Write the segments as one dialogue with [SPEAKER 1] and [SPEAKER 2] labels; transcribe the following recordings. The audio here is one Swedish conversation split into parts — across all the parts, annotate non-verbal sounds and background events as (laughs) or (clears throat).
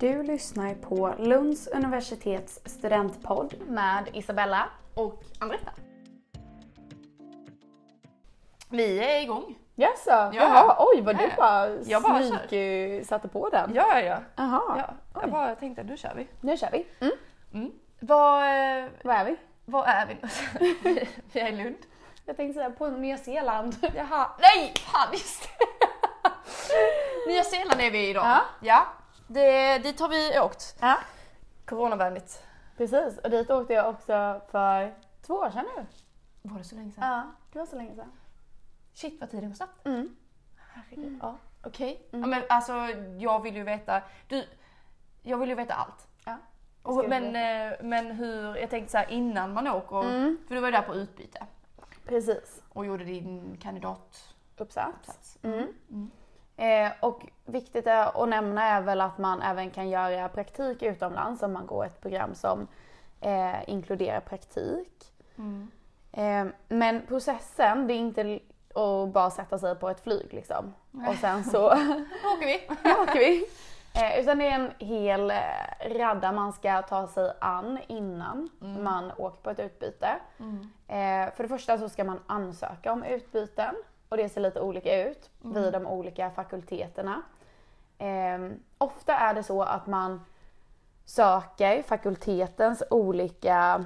[SPEAKER 1] Du lyssnar på Lunds universitets studentpodd med Isabella.
[SPEAKER 2] och Andretta. Vi är igång.
[SPEAKER 3] Jaså?
[SPEAKER 2] ja.
[SPEAKER 3] Jaha, oj vad
[SPEAKER 2] Ja,
[SPEAKER 3] du
[SPEAKER 2] ja.
[SPEAKER 3] bara
[SPEAKER 2] Jag bara
[SPEAKER 3] sneak, eh, satte på den.
[SPEAKER 2] Ja, ja, ja.
[SPEAKER 3] Jaha,
[SPEAKER 2] ja. Jag bara tänkte, nu kör vi. Mm.
[SPEAKER 3] nu kör vi. Mm.
[SPEAKER 2] Vad, eh,
[SPEAKER 3] Var är vi?
[SPEAKER 2] vad är vi (laughs) någonstans? Vi- Vi är i Lund.
[SPEAKER 1] Jag tänkte säga på Nya
[SPEAKER 3] (laughs)
[SPEAKER 1] Zeeland.
[SPEAKER 2] Jaha. Nej! Fan, just det. (laughs) Nya Zeeland är vi i idag.
[SPEAKER 3] Ja.
[SPEAKER 2] ja. Det, dit har vi åkt.
[SPEAKER 3] Ja.
[SPEAKER 2] Coronavänligt.
[SPEAKER 3] Precis, och dit åkte jag också för två år sedan nu.
[SPEAKER 2] Var det så länge sedan?
[SPEAKER 3] Ja, det var så länge sedan.
[SPEAKER 2] Shit vad tiden går snabbt.
[SPEAKER 3] Mm.
[SPEAKER 2] Herregud. Ja, okej. Ja, men alltså jag vill ju veta, du, jag vill ju veta allt.
[SPEAKER 3] Ja, det ska
[SPEAKER 2] Och,
[SPEAKER 3] vi
[SPEAKER 2] men, eh, men hur, jag tänkte så här innan man åker,
[SPEAKER 3] Mm.
[SPEAKER 2] för du var ju där på utbyte
[SPEAKER 3] Precis.
[SPEAKER 2] och gjorde din kandidat.
[SPEAKER 3] Uppsatt.
[SPEAKER 2] Plats.
[SPEAKER 3] Mm. Eh, och viktigt är att nämna är väl att man även kan göra praktik utomlands om man går ett program som eh, inkluderar praktik. Eh, men processen, det är inte l- att bara sätta sig på ett flyg liksom. Och sen så
[SPEAKER 2] Då åker vi!
[SPEAKER 3] Nu åker vi. Eh, utan det är en hel eh, radda man ska ta sig an innan man åker på ett utbyte. Eh, för det första så ska man ansöka om utbyten och det ser lite olika ut vid de olika fakulteterna. Eh, ofta är det så att man söker fakultetens olika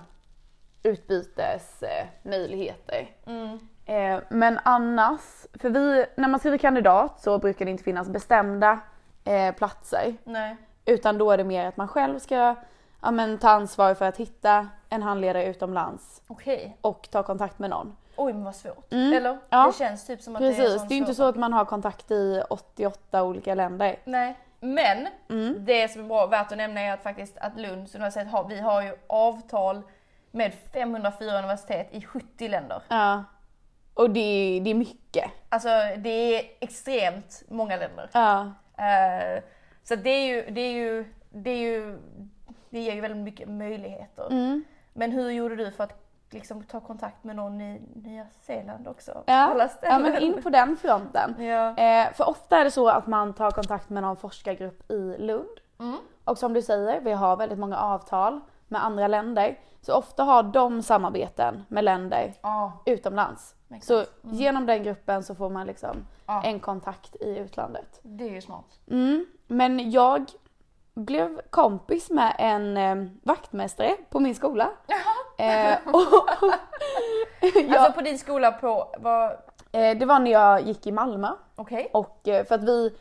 [SPEAKER 3] utbytesmöjligheter. Eh, men annars, för vi, när man skriver kandidat så brukar det inte finnas bestämda eh, platser.
[SPEAKER 2] Nej.
[SPEAKER 3] Utan då är det mer att man själv ska ja, men, ta ansvar för att hitta en handledare utomlands
[SPEAKER 2] Okej.
[SPEAKER 3] och ta kontakt med någon.
[SPEAKER 2] Oj men vad svårt. Eller?
[SPEAKER 3] Mm. Ja.
[SPEAKER 2] Det känns typ som att det är en
[SPEAKER 3] Precis,
[SPEAKER 2] sån
[SPEAKER 3] det är ju inte
[SPEAKER 2] svår-
[SPEAKER 3] så att man har kontakt i 88 olika länder.
[SPEAKER 2] Nej. Men
[SPEAKER 3] Mm.
[SPEAKER 2] det som är bra, värt att nämna är att faktiskt att Lunds universitet har, vi har ju avtal med 504 universitet i 70 länder.
[SPEAKER 3] Ja. Och det är, det är mycket.
[SPEAKER 2] Alltså det är extremt många länder.
[SPEAKER 3] Ja.
[SPEAKER 2] Eh, så det är ju, det är ju, det är ju, det ger ju väldigt mycket möjligheter.
[SPEAKER 3] Mm.
[SPEAKER 2] Men hur gjorde du för att liksom ta kontakt med någon i Nya Zeeland också?
[SPEAKER 3] Ja.
[SPEAKER 2] Alla
[SPEAKER 3] ja,
[SPEAKER 2] ställen.
[SPEAKER 3] men in på den fronten.
[SPEAKER 2] (laughs) Ja.
[SPEAKER 3] Eh, för ofta är det så att man tar kontakt med någon forskargrupp i Lund.
[SPEAKER 2] Mm.
[SPEAKER 3] Och som du säger, vi har väldigt många avtal med andra länder. Så ofta har de samarbeten med länder
[SPEAKER 2] Ja,
[SPEAKER 3] utomlands.
[SPEAKER 2] Makes
[SPEAKER 3] Så genom den gruppen så får man liksom
[SPEAKER 2] Mm. Ja.
[SPEAKER 3] en kontakt i utlandet.
[SPEAKER 2] det är
[SPEAKER 3] (laughs)
[SPEAKER 2] ju smart.
[SPEAKER 3] Mm. Men jag blev kompis med en eh, vaktmästare på min skola. Eh, och, (laughs)
[SPEAKER 2] Alltså på din skola på, vad,
[SPEAKER 3] eh, det var när jag gick i Malmö.
[SPEAKER 2] okej?
[SPEAKER 3] Och eh, för att vi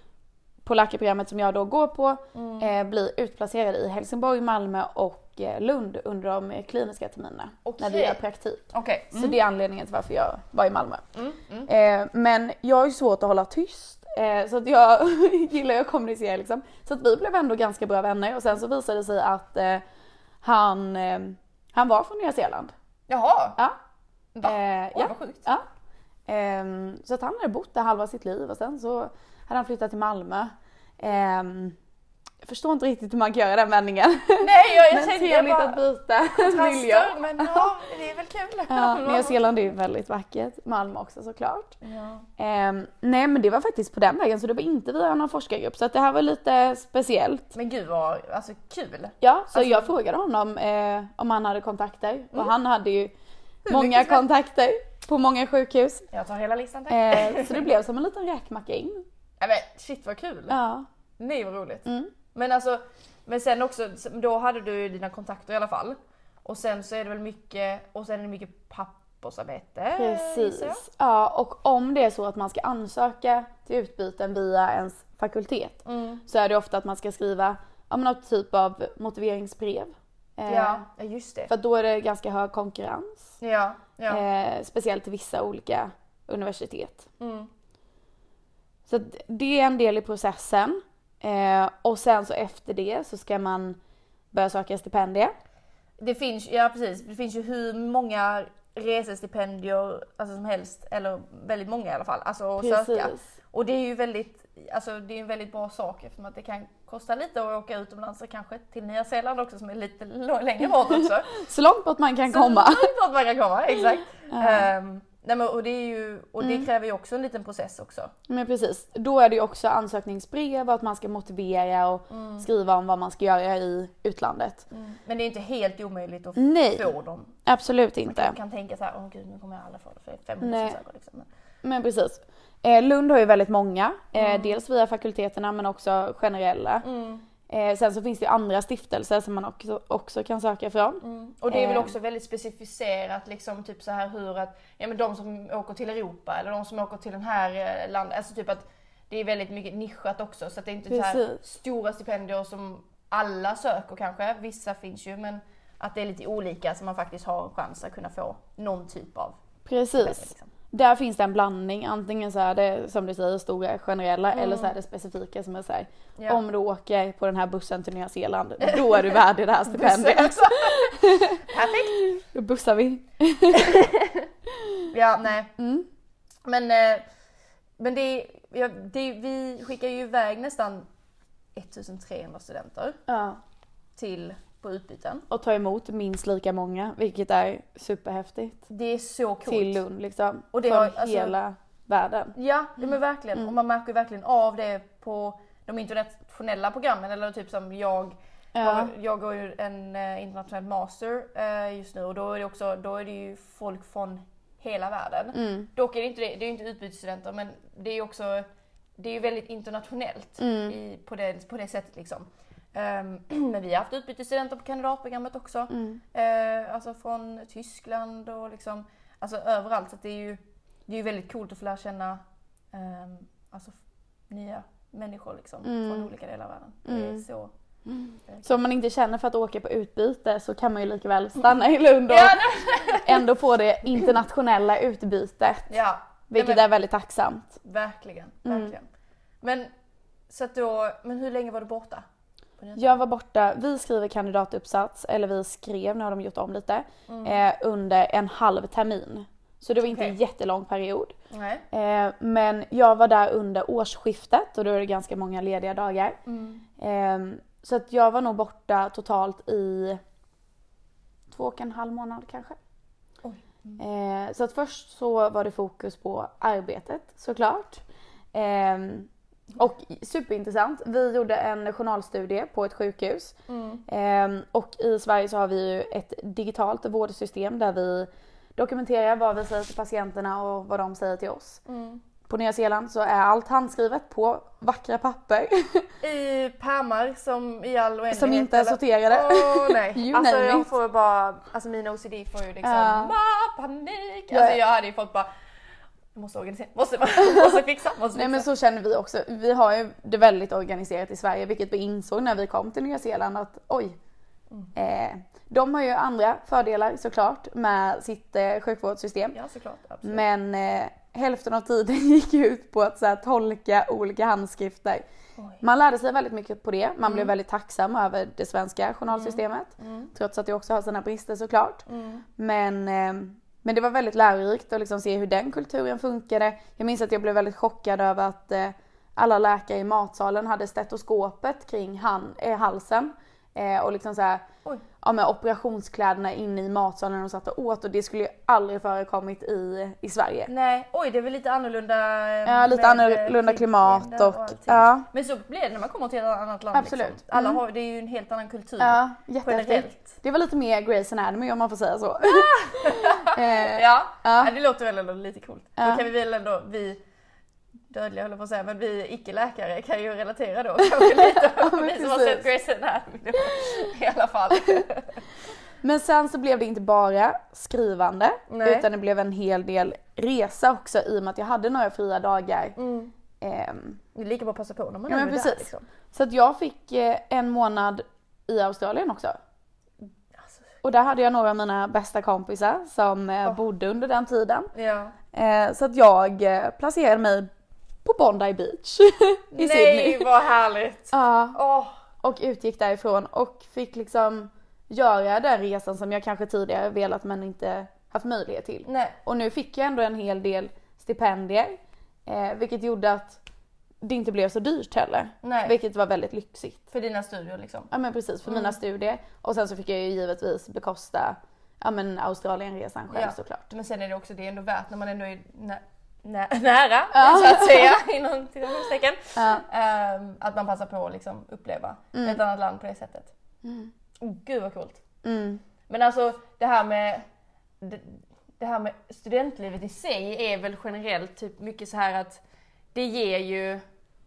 [SPEAKER 3] på läkarprogrammet som jag då går på
[SPEAKER 2] Mm.
[SPEAKER 3] eh, blir utplacerade i Helsingborg, Malmö och eh, Lund under de eh, kliniska terminerna när vi
[SPEAKER 2] Okej. Mm.
[SPEAKER 3] gör praktik.
[SPEAKER 2] Okej. Mm,
[SPEAKER 3] Så det är anledningen till varför jag var i Malmö. Eh, men jag har ju svårt att hålla tyst eh, så att jag (laughs) gillar ju att kommunicera liksom. Så att vi blev ändå ganska bra vänner och sen så visade det sig att eh, han, eh, han var från Nya Zeeland.
[SPEAKER 2] Jaha!
[SPEAKER 3] Ja.
[SPEAKER 2] Va?
[SPEAKER 3] Eh,
[SPEAKER 2] Oj,
[SPEAKER 3] ja.
[SPEAKER 2] vad sjukt.
[SPEAKER 3] Ja. Ehm, så att han hade bott där halva sitt liv och sen så hade han flyttat till Malmö. Ehm, jag förstår inte riktigt hur man kan göra den vändningen.
[SPEAKER 2] (laughs) Nej jag, jag
[SPEAKER 3] Men
[SPEAKER 2] tänkte jag
[SPEAKER 3] trevligt
[SPEAKER 2] bara,
[SPEAKER 3] att
[SPEAKER 2] (laughs)
[SPEAKER 3] byta miljö.
[SPEAKER 2] Trastor, men ja, det är väl kul.
[SPEAKER 3] Ja, Nya Zeeland är ju väldigt vackert. Malmö också såklart.
[SPEAKER 2] (laughs) Ja.
[SPEAKER 3] Ehm, nej men det var faktiskt på den vägen så det var inte via någon forskargrupp så att det här var lite speciellt.
[SPEAKER 2] Men gud vad, alltså kul.
[SPEAKER 3] Ja, så
[SPEAKER 2] Alltså- Mm.
[SPEAKER 3] jag frågade honom eh, om han hade kontakter och han hade ju många
[SPEAKER 2] mycket som-
[SPEAKER 3] kontakter på många
[SPEAKER 2] (laughs)
[SPEAKER 3] sjukhus.
[SPEAKER 2] Jag tar hela listan tack.
[SPEAKER 3] Eh, så det blev som en liten räkmacka in.
[SPEAKER 2] Ja, men shit vad kul.
[SPEAKER 3] Ja. Mm.
[SPEAKER 2] Nej vad roligt. Men alltså, men sen också, då hade du ju dina kontakter i alla fall. Och sen så är det väl mycket, och sen är det mycket pappersarbete. gissar jag.
[SPEAKER 3] Precis. Ja, och om det är så att man ska ansöka till utbyten via ens fakultet så är det ofta att man ska skriva ja, men något typ av motiveringsbrev. Eh,
[SPEAKER 2] Ja, ja just det.
[SPEAKER 3] För att då är det ganska hög konkurrens.
[SPEAKER 2] Ja, ja.
[SPEAKER 3] Eh, speciellt till vissa olika universitet.
[SPEAKER 2] Mm.
[SPEAKER 3] Så att det är en del i processen. Eh, och sen så efter det så ska man börja söka stipendier.
[SPEAKER 2] Det finns, ja precis, det finns ju hur många resestipendier alltså som helst, eller väldigt många i alla fall, alltså att
[SPEAKER 3] Precis.
[SPEAKER 2] söka. Och det är ju väldigt, alltså det är en väldigt bra sak eftersom att det kan kosta lite att åka utomlands och kanske till Nya Zeeland också som är lite
[SPEAKER 3] (laughs)
[SPEAKER 2] l- längre bort också.
[SPEAKER 3] Så långt bort man kan komma.
[SPEAKER 2] Så långt bort man kan komma, exakt. Ehm, Nej, men, och det, är ju, och
[SPEAKER 3] Mm.
[SPEAKER 2] det kräver ju också en liten process också.
[SPEAKER 3] Men precis, då är det ju också ansökningsbrev och att man ska motivera och skriva om vad man ska göra i utlandet.
[SPEAKER 2] Men det är ju inte helt omöjligt att
[SPEAKER 3] Mm. Nej.
[SPEAKER 2] få dem.
[SPEAKER 3] Absolut
[SPEAKER 2] Man
[SPEAKER 3] inte.
[SPEAKER 2] kan tänka så här, åh gud nu kommer jag aldrig få det för det är 500
[SPEAKER 3] Nej.
[SPEAKER 2] som söker. Liksom. Men-
[SPEAKER 3] Men precis. Eh, Lund har ju väldigt många, eh, dels via fakulteterna men också generella. Eh, sen så finns det ju andra stiftelser som man också, också kan söka från.
[SPEAKER 2] Och det är väl
[SPEAKER 3] Ehm.
[SPEAKER 2] också väldigt specificerat liksom typ så här hur att, ja men de som åker till Europa eller de som åker till den här eh, landet, alltså typ att det är väldigt mycket nischat också så att det är inte så här
[SPEAKER 3] Precis.
[SPEAKER 2] stora stipendier som alla söker kanske, vissa finns ju men att det är lite olika så man faktiskt har en chans att kunna få någon typ av
[SPEAKER 3] Precis.
[SPEAKER 2] liksom.
[SPEAKER 3] Där finns det en blandning, antingen så är det som du säger stora generella eller så är det specifika som är så här,
[SPEAKER 2] Ja.
[SPEAKER 3] om du åker på den här bussen till Nya Zeeland då är du värdig det här
[SPEAKER 2] (laughs)
[SPEAKER 3] stipendiet.
[SPEAKER 2] Perfekt!
[SPEAKER 3] Då bussar vi.
[SPEAKER 2] Ja, nej.
[SPEAKER 3] Mm.
[SPEAKER 2] Men, eh, men det, är- ja, det, är- vi skickar ju iväg nästan 1300 studenter
[SPEAKER 3] Ja.
[SPEAKER 2] till på utbyten.
[SPEAKER 3] Och tar emot minst lika många vilket är superhäftigt.
[SPEAKER 2] Det är så coolt.
[SPEAKER 3] Till Lund liksom.
[SPEAKER 2] Och det
[SPEAKER 3] från
[SPEAKER 2] har- alltså-
[SPEAKER 3] hela världen.
[SPEAKER 2] Ja, det
[SPEAKER 3] Mm.
[SPEAKER 2] men verkligen. Och man märker ju verkligen av det på de internationella programmen. Eller typ som jag,
[SPEAKER 3] Ja.
[SPEAKER 2] jag går ju en eh, internationell master eh, just nu och då är, det också, då är det ju folk från hela världen.
[SPEAKER 3] Mm.
[SPEAKER 2] Dock är det inte det, det är ju inte utbytesstudenter men det är ju också det är ju väldigt internationellt i, på, det, på det sättet liksom. Ehm, (clears throat) men vi har haft utbytesstudenter på kandidatprogrammet också. Eh, alltså från Tyskland och liksom, alltså överallt. Så att det är ju det är ju väldigt coolt att få lära känna ehm, alltså, f- nya människor liksom, från olika delar av världen. Det är så.
[SPEAKER 3] Mm. Så om man inte känner för att åka på utbyte så kan man ju lika väl stanna i Lund och
[SPEAKER 2] Ja,
[SPEAKER 3] ändå få det internationella utbytet.
[SPEAKER 2] Ja,
[SPEAKER 3] Vilket
[SPEAKER 2] Nej, men-
[SPEAKER 3] är väldigt tacksamt.
[SPEAKER 2] verkligen. verkligen. Men, så att då, men hur länge var du borta?
[SPEAKER 3] Jag var borta, vi skriver kandidatuppsats, eller vi skrev, nu har de gjort om lite,
[SPEAKER 2] Mm.
[SPEAKER 3] eh, under en halv termin. Så det var inte
[SPEAKER 2] Okej.
[SPEAKER 3] en jättelång period.
[SPEAKER 2] Nej.
[SPEAKER 3] Eh, men jag var där under årsskiftet och då är det ganska många lediga dagar.
[SPEAKER 2] Mm.
[SPEAKER 3] Eh, så att jag var nog borta totalt i två och en halv månad kanske.
[SPEAKER 2] Oj.
[SPEAKER 3] Eh, så att först så var det fokus på arbetet såklart. Eh, och superintressant. Vi gjorde en journalstudie på ett sjukhus.
[SPEAKER 2] Mm.
[SPEAKER 3] Eh, och i Sverige så har vi ju ett digitalt vårdsystem där vi dokumenterar vad vi säger till patienterna och vad de säger till oss.
[SPEAKER 2] Mm.
[SPEAKER 3] På Nya Zeeland så är allt handskrivet på vackra papper
[SPEAKER 2] I pärmar som i all oändlighet.
[SPEAKER 3] som inte är
[SPEAKER 2] eller-
[SPEAKER 3] sorterade.
[SPEAKER 2] Åh nej.
[SPEAKER 3] (laughs) You
[SPEAKER 2] alltså
[SPEAKER 3] name
[SPEAKER 2] jag
[SPEAKER 3] it.
[SPEAKER 2] får bara, alltså min OCD får ju liksom
[SPEAKER 3] Ja.
[SPEAKER 2] "Ma, panik.
[SPEAKER 3] Ja.
[SPEAKER 2] Alltså jag hade ju fått bara, jag måste organisera, måste, (laughs) måste fixa, måste
[SPEAKER 3] Nej
[SPEAKER 2] fixa.
[SPEAKER 3] men så känner vi också. Vi har ju det väldigt organiserat i Sverige vilket vi insåg när vi kom till Nya Zeeland att oj. Eh, de har ju andra fördelar såklart med sitt eh, sjukvårdssystem.
[SPEAKER 2] Ja såklart, absolut.
[SPEAKER 3] Men eh, hälften av tiden (laughs) gick ut på att så här, tolka olika handskrifter. Man lärde sig väldigt mycket på det. Man blev väldigt tacksam över det svenska journalsystemet. Trots att det också har sina brister såklart. Men, eh, men det var väldigt lärorikt att liksom se hur den kulturen funkade. Jag minns att jag blev väldigt chockad över att eh, alla läkare i matsalen hade stetoskopet kring han, eh, halsen. Eh, och liksom så här,
[SPEAKER 2] Oj.
[SPEAKER 3] ja, med operationskläderna inne i matsalen när de satt och åt och det skulle ju aldrig förekommit i, i Sverige.
[SPEAKER 2] Nej, oj det är väl lite annorlunda eh,
[SPEAKER 3] Ja, lite
[SPEAKER 2] Mm, med,
[SPEAKER 3] annorlunda
[SPEAKER 2] eh,
[SPEAKER 3] klimat
[SPEAKER 2] skyddsgränder
[SPEAKER 3] och-
[SPEAKER 2] allting. Mm.
[SPEAKER 3] ja.
[SPEAKER 2] Men så blir det när man kommer till ett annat land.
[SPEAKER 3] Absolut. Mm.
[SPEAKER 2] Liksom. Alla har, det är ju en helt annan kultur.
[SPEAKER 3] Ja, jättehäftigt.
[SPEAKER 2] Generellt.
[SPEAKER 3] Det var lite mer Grey's Anatomy om man får säga så.
[SPEAKER 2] Ah!
[SPEAKER 3] (laughs)
[SPEAKER 2] (laughs)
[SPEAKER 3] eh,
[SPEAKER 2] Ja.
[SPEAKER 3] Ja.
[SPEAKER 2] ja, det låter väl ändå lite coolt.
[SPEAKER 3] Ja.
[SPEAKER 2] Då kan vi väl ändå, vi dödliga höll jag på att säga, men vi icke-läkare kan ju relatera (laughs) då kanske lite.
[SPEAKER 3] men
[SPEAKER 2] vi som har
[SPEAKER 3] precis.
[SPEAKER 2] sett Grey's Anatomy då, i alla fall.
[SPEAKER 3] men sen så blev det inte bara skrivande
[SPEAKER 2] Nej.
[SPEAKER 3] utan det blev en hel del resa också i och med att jag hade några fria dagar. Ehm,
[SPEAKER 2] Mm. Det är lika bra att passa på när man
[SPEAKER 3] ja,
[SPEAKER 2] är
[SPEAKER 3] men
[SPEAKER 2] där,
[SPEAKER 3] precis.
[SPEAKER 2] liksom.
[SPEAKER 3] Så att jag fick eh, en månad i Australien också.
[SPEAKER 2] Alltså,
[SPEAKER 3] Och där hade jag några av mina bästa kompisar som eh, bodde under den tiden.
[SPEAKER 2] ja.
[SPEAKER 3] Eh, så att jag eh, placerade mig på Bondi Beach (laughs) i Sydney.
[SPEAKER 2] Nej vad härligt!
[SPEAKER 3] Ja,
[SPEAKER 2] Åh,
[SPEAKER 3] och utgick därifrån och fick liksom göra den resan som jag kanske tidigare velat men inte haft möjlighet till.
[SPEAKER 2] nej.
[SPEAKER 3] Och nu fick jag ändå en hel del stipendier eh, vilket gjorde att det inte blev så dyrt heller.
[SPEAKER 2] Nej.
[SPEAKER 3] Vilket var väldigt lyxigt.
[SPEAKER 2] För dina studier liksom.
[SPEAKER 3] Mm. Ja men precis, för mina studier. Och sen så fick jag ju givetvis bekosta ja, men Australienresan själv
[SPEAKER 2] Ja.
[SPEAKER 3] såklart.
[SPEAKER 2] Men sen är det också, det är ändå värt när man ändå är nä- nä- (laughs) nära, så att säga, (laughs) inom citationstecken.
[SPEAKER 3] Ja.
[SPEAKER 2] Ehm, att man passar på att liksom uppleva ett annat land på det sättet. Mm. Gud vad coolt.
[SPEAKER 3] Mm.
[SPEAKER 2] Men alltså det här med det, det här med studentlivet i sig är väl generellt typ mycket så här att det ger ju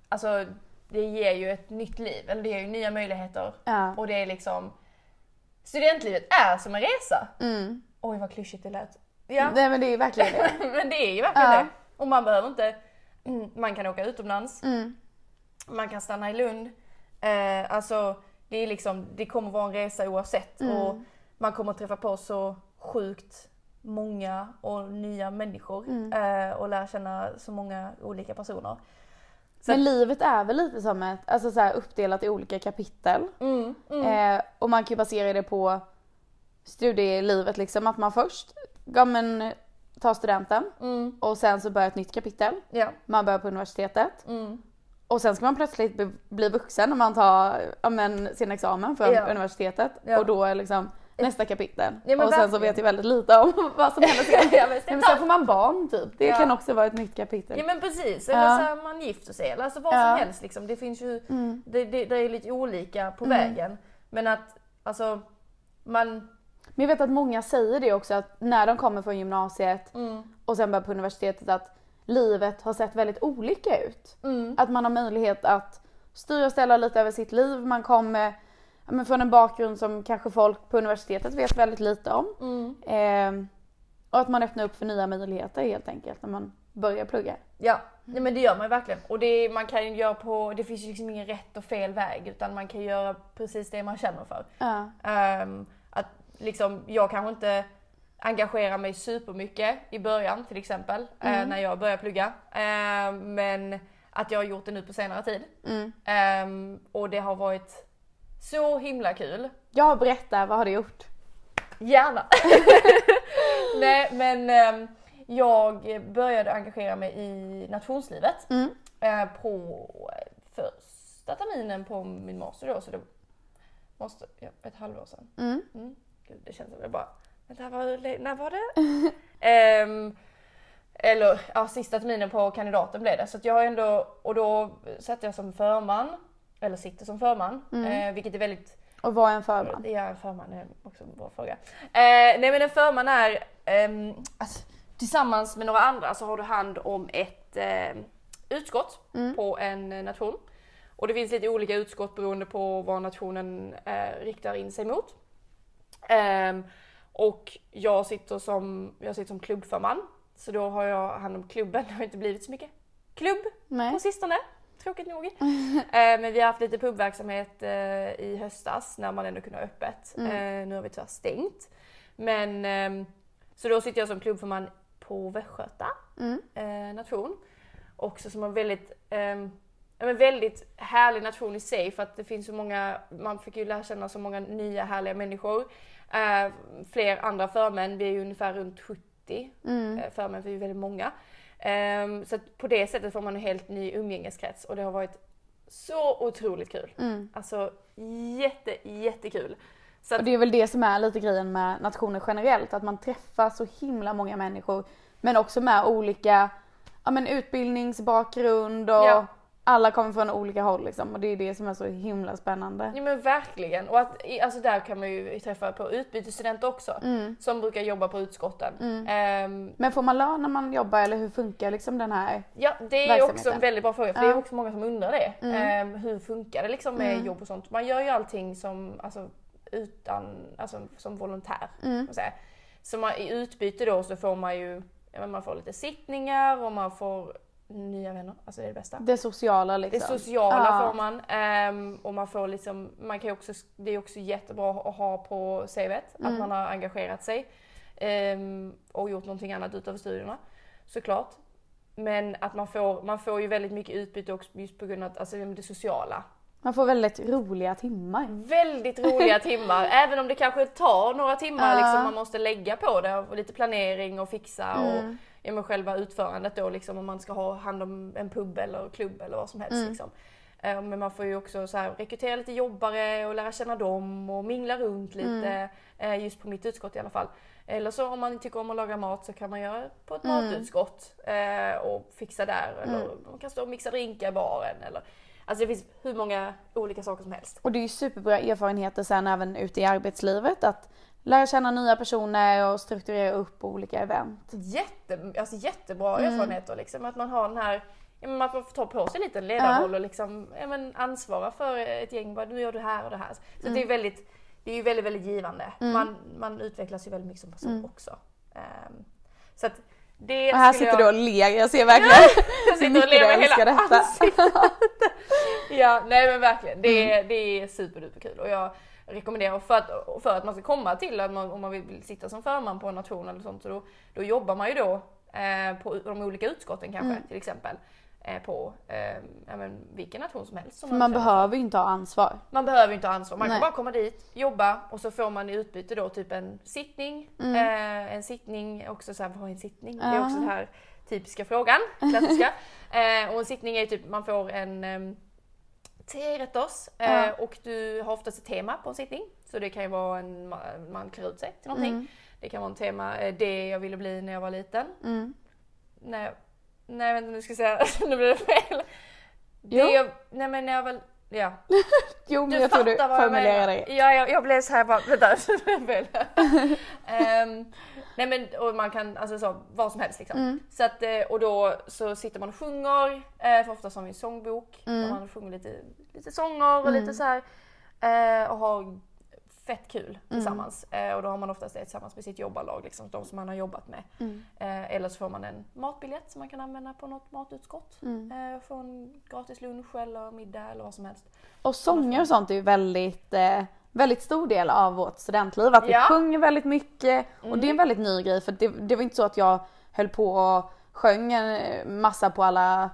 [SPEAKER 2] alltså det ger ju ett nytt liv, eller det ger ju nya möjligheter.
[SPEAKER 3] Ja.
[SPEAKER 2] Och det är liksom studentlivet är som en resa.
[SPEAKER 3] Mm.
[SPEAKER 2] Oj vad klyschigt det lät. Ja,
[SPEAKER 3] Nej men det är verkligen (laughs) det.
[SPEAKER 2] (laughs) men det är ju verkligen
[SPEAKER 3] Ja.
[SPEAKER 2] det. Och man behöver inte, mm, man kan åka utomlands,
[SPEAKER 3] Mm.
[SPEAKER 2] man kan stanna i Lund. Eh, alltså det är liksom, det kommer vara en resa oavsett
[SPEAKER 3] Mm.
[SPEAKER 2] och man kommer träffa på så sjukt många och nya människor
[SPEAKER 3] Mm.
[SPEAKER 2] eh, och lära känna så många olika personer. Så-
[SPEAKER 3] Men livet är väl lite som ett, alltså så här uppdelat i olika kapitel.
[SPEAKER 2] Mm, mm,
[SPEAKER 3] Eh, och man kan ju basera det på studielivet liksom, att man först ja, men, tar studenten
[SPEAKER 2] mm,
[SPEAKER 3] och sen så börjar ett nytt kapitel.
[SPEAKER 2] (laughs) ja.
[SPEAKER 3] Man börjar på universitetet
[SPEAKER 2] Mm,
[SPEAKER 3] och sen ska man plötsligt be- bli vuxen när man tar ja, men, sin examen från
[SPEAKER 2] Ja.
[SPEAKER 3] universitetet
[SPEAKER 2] Ja,
[SPEAKER 3] och då är liksom nästa kapitel.
[SPEAKER 2] Ja, men
[SPEAKER 3] och sen så
[SPEAKER 2] verkligen.
[SPEAKER 3] vet jag väldigt lite om (laughs) vad som händer sen.
[SPEAKER 2] (laughs) Ja, men
[SPEAKER 3] Nej, men sen får man barn typ, det
[SPEAKER 2] Ja.
[SPEAKER 3] kan också vara ett nytt kapitel.
[SPEAKER 2] ja men precis, eller
[SPEAKER 3] Ja.
[SPEAKER 2] så här, man gifter sig eller alltså vad
[SPEAKER 3] Ja. Mm.
[SPEAKER 2] som helst liksom. Det finns ju, det, det, det är lite olika på vägen. Men att alltså man,
[SPEAKER 3] Men jag vet att många säger det också att när de kommer från gymnasiet
[SPEAKER 2] Mm.
[SPEAKER 3] och sen börjar på universitetet att livet har sett väldigt olika ut.
[SPEAKER 2] Mm.
[SPEAKER 3] Att man har möjlighet att styra och ställa lite över sitt liv. Man kommer ja, men från en bakgrund som kanske folk på universitetet vet väldigt lite om.
[SPEAKER 2] mm.
[SPEAKER 3] Eh, och att man öppnar upp för nya möjligheter helt enkelt när man börjar plugga.
[SPEAKER 2] Ja, nej, men det gör man ju verkligen. Och det, man kan ju göra på, det finns ju liksom ingen rätt och fel väg utan man kan göra precis det man känner för.
[SPEAKER 3] Ja.
[SPEAKER 2] Ehm, att liksom, jag kanske inte engagerar mig supermycket i början till exempel eh, när jag började plugga. Ehm, men att jag har gjort det nu på senare tid.
[SPEAKER 3] Mm.
[SPEAKER 2] Ehm, och det har varit så himla kul.
[SPEAKER 3] Jag berättar, vad har du gjort?
[SPEAKER 2] Gärna! (laughs) Nej men ehm, jag började engagera mig i nationslivet
[SPEAKER 3] Mm.
[SPEAKER 2] eh, på första terminen på min master då så det måste, ja, ett halvår sedan.
[SPEAKER 3] Mm.
[SPEAKER 2] Gud, det känns som det bara, vänta, var, när var det? Ehm, eller ja, sista terminen på kandidaten blev det. Så att jag har ändå, och då satt jag som förman, eller sitter som förman, eh, vilket är väldigt
[SPEAKER 3] Och vad är en förman?
[SPEAKER 2] Ja, en förman är också en bra fråga. Eh, nej men en förman är, ehm, alltså, tillsammans med några andra så har du hand om ett ehm, utskott på en eh, nation. Och det finns lite olika utskott beroende på vad nationen eh, riktar in sig mot. Ehm, och jag sitter, som, jag sitter som klubbförman, så då har jag hand om klubben. Det har inte blivit så mycket klubb
[SPEAKER 3] Nej.
[SPEAKER 2] på sistone. Tråkigt nog. eh, men vi har haft lite pubverksamhet eh, i höstas när man ändå kunde ha öppet. Eh, nu har vi tyvärr stängt. Men, ehm, så då sitter jag som klubbförman på Västgöta
[SPEAKER 3] Mm.
[SPEAKER 2] eh, nation. Också som en väldigt, ehm, ja, men väldigt härlig nation i sig för att det finns så många, man fick ju lära känna så många nya härliga människor. Eh, fler andra förmän, vi är ju ungefär runt 70
[SPEAKER 3] Mm.
[SPEAKER 2] eh, för mig, för vi är väldigt många. Ehm, så att på det sättet får man en helt ny umgängeskrets och det har varit så otroligt kul.
[SPEAKER 3] Mm.
[SPEAKER 2] Alltså jätte, jättekul. Så
[SPEAKER 3] Och
[SPEAKER 2] att,
[SPEAKER 3] det är väl det som är lite grejen med nationer generellt, att man träffar så himla många människor men också med olika ja, men utbildningsbakgrund och
[SPEAKER 2] Ja.
[SPEAKER 3] alla kommer från olika håll liksom och det är det som är så himla spännande.
[SPEAKER 2] ja men verkligen. Och att, i- alltså där kan man ju träffa på utbytesstudenter också
[SPEAKER 3] Mm.
[SPEAKER 2] som brukar jobba på utskotten. Ehm,
[SPEAKER 3] Men får man lön när man jobbar eller hur funkar liksom den här?
[SPEAKER 2] Ja, det är
[SPEAKER 3] verksamheten.
[SPEAKER 2] också en väldigt bra fråga för det är
[SPEAKER 3] Ja. Mm.
[SPEAKER 2] också många som undrar det. Ehm, hur funkar det liksom med jobb och sånt? Man gör ju allting som, alltså, utan, alltså, som volontär. kan man säga. Så man, i utbyte då så får man ju ja, men man får lite sittningar och man får nya vänner. Alltså det är det bästa.
[SPEAKER 3] Det sociala
[SPEAKER 2] Det
[SPEAKER 3] liksom?
[SPEAKER 2] sociala
[SPEAKER 3] Ja.
[SPEAKER 2] får man. ehm, och man får liksom, man kan ju också, det är också jättebra att ha på CVt
[SPEAKER 3] Mm.
[SPEAKER 2] att man har engagerat sig ehm, och gjort någonting annat utöver studierna. Såklart. Men att man får, man får ju väldigt mycket utbyte också just på grund av att, alltså, det sociala.
[SPEAKER 3] Man får väldigt roliga timmar.
[SPEAKER 2] Väldigt roliga timmar, även om det kanske tar några timmar
[SPEAKER 3] Ja.
[SPEAKER 2] liksom, man måste lägga på det och lite planering och fixa och ja, men själva utförandet då liksom om man ska ha hand om en pub eller klubb eller vad som helst. Liksom. Eh, Men man får ju också så här, rekrytera lite jobbare och lära känna dem och mingla runt lite. eh, Just på mitt utskott i alla fall. Eller så om man tycker om att laga mat så kan man göra på ett matutskott eh, och fixa där. Eller man kan stå och mixa drinkar i baren. Eller, alltså det finns hur många olika saker som helst.
[SPEAKER 3] Och det är ju superbra erfarenheter sen även ute i arbetslivet att lära känna nya personer och strukturera upp olika event.
[SPEAKER 2] jätte, alltså jättebra
[SPEAKER 3] Mm.
[SPEAKER 2] erfarenheter. Liksom, att man har den här, ja, men att man får ta på sig lite ledarroll och liksom, ja, men ansvara för ett gäng. Bara, nu gör du här och det här. Så att
[SPEAKER 3] Mm.
[SPEAKER 2] det är väldigt, det är ju väldigt, väldigt givande. Man, man utvecklas ju väldigt mycket som person också. Ehm, så att det
[SPEAKER 3] Mm. Och här
[SPEAKER 2] skulle
[SPEAKER 3] sitter du
[SPEAKER 2] jag,
[SPEAKER 3] och ler, jag ser verkligen
[SPEAKER 2] jag
[SPEAKER 3] hur
[SPEAKER 2] (laughs) sitter
[SPEAKER 3] mycket
[SPEAKER 2] och
[SPEAKER 3] du
[SPEAKER 2] ler med
[SPEAKER 3] älskar
[SPEAKER 2] hela
[SPEAKER 3] detta.
[SPEAKER 2] (laughs) Ja, nej men verkligen. Det,
[SPEAKER 3] Mm.
[SPEAKER 2] är- det är superduperkul och jag rekommenderar för att, för att man ska komma till att man, om man vill sitta som förman på en nation eller sånt så då, då jobbar man ju då eh, på de olika utskotten kanske
[SPEAKER 3] Mm.
[SPEAKER 2] till exempel eh, på eh, ja, men vilken nation som helst. Som
[SPEAKER 3] Man
[SPEAKER 2] känner.
[SPEAKER 3] behöver ju inte ha ansvar.
[SPEAKER 2] man behöver ju inte ha ansvar. Man
[SPEAKER 3] Nej.
[SPEAKER 2] kan bara komma dit, jobba och så får man i utbyte då typ en sittning.
[SPEAKER 3] Mm.
[SPEAKER 2] Eh, en sittning, också så här, vad är en sittning? Det är också den här typiska frågan,
[SPEAKER 3] (laughs)
[SPEAKER 2] klassiska. eh, och en sittning är ju typ, man får en eh, trerätters eh,
[SPEAKER 3] Ja.
[SPEAKER 2] och du har oftast ett tema på en sittning. Så det kan ju vara en, ma- man klär ut sig till någonting. Det kan vara en tema, eh, det jag ville bli när jag var liten.
[SPEAKER 3] Mm.
[SPEAKER 2] När jag, nej vänta nu ska jag säga, (laughs) nu blir det fel. Det
[SPEAKER 3] Jo.
[SPEAKER 2] jag, nej men när jag var, ja.
[SPEAKER 3] Jo men
[SPEAKER 2] Du
[SPEAKER 3] jag tror du
[SPEAKER 2] fattar vad jag
[SPEAKER 3] formulerar
[SPEAKER 2] menar.
[SPEAKER 3] det.
[SPEAKER 2] Ja, jag, jag blev så här bara, vänta. (laughs) um, nej men och man kan, alltså så, vad som helst
[SPEAKER 3] Mm.
[SPEAKER 2] liksom. Så att, eh, och då så sitter man och sjunger, eh, för ofta har vi en sångbok.
[SPEAKER 3] Mm.
[SPEAKER 2] Där man sjunger lite, lite sånger och lite så här. eh, Och har fett
[SPEAKER 3] Mm.
[SPEAKER 2] kul tillsammans. Eh, Och då har man oftast det tillsammans med sitt jobbarlag, liksom, de som man har jobbat med.
[SPEAKER 3] Mm.
[SPEAKER 2] Eh, Eller så får man en matbiljett som man kan använda på något matutskott. Mm. Få en gratis lunch eller middag eller vad som helst.
[SPEAKER 3] Och sånger och sånt är ju väldigt, eh, väldigt stor del av vårt studentliv. Att vi
[SPEAKER 2] Ja. Mm.
[SPEAKER 3] sjunger väldigt mycket och det är en väldigt ny grej för det, det var inte så att jag höll på och sjöng en massa på alla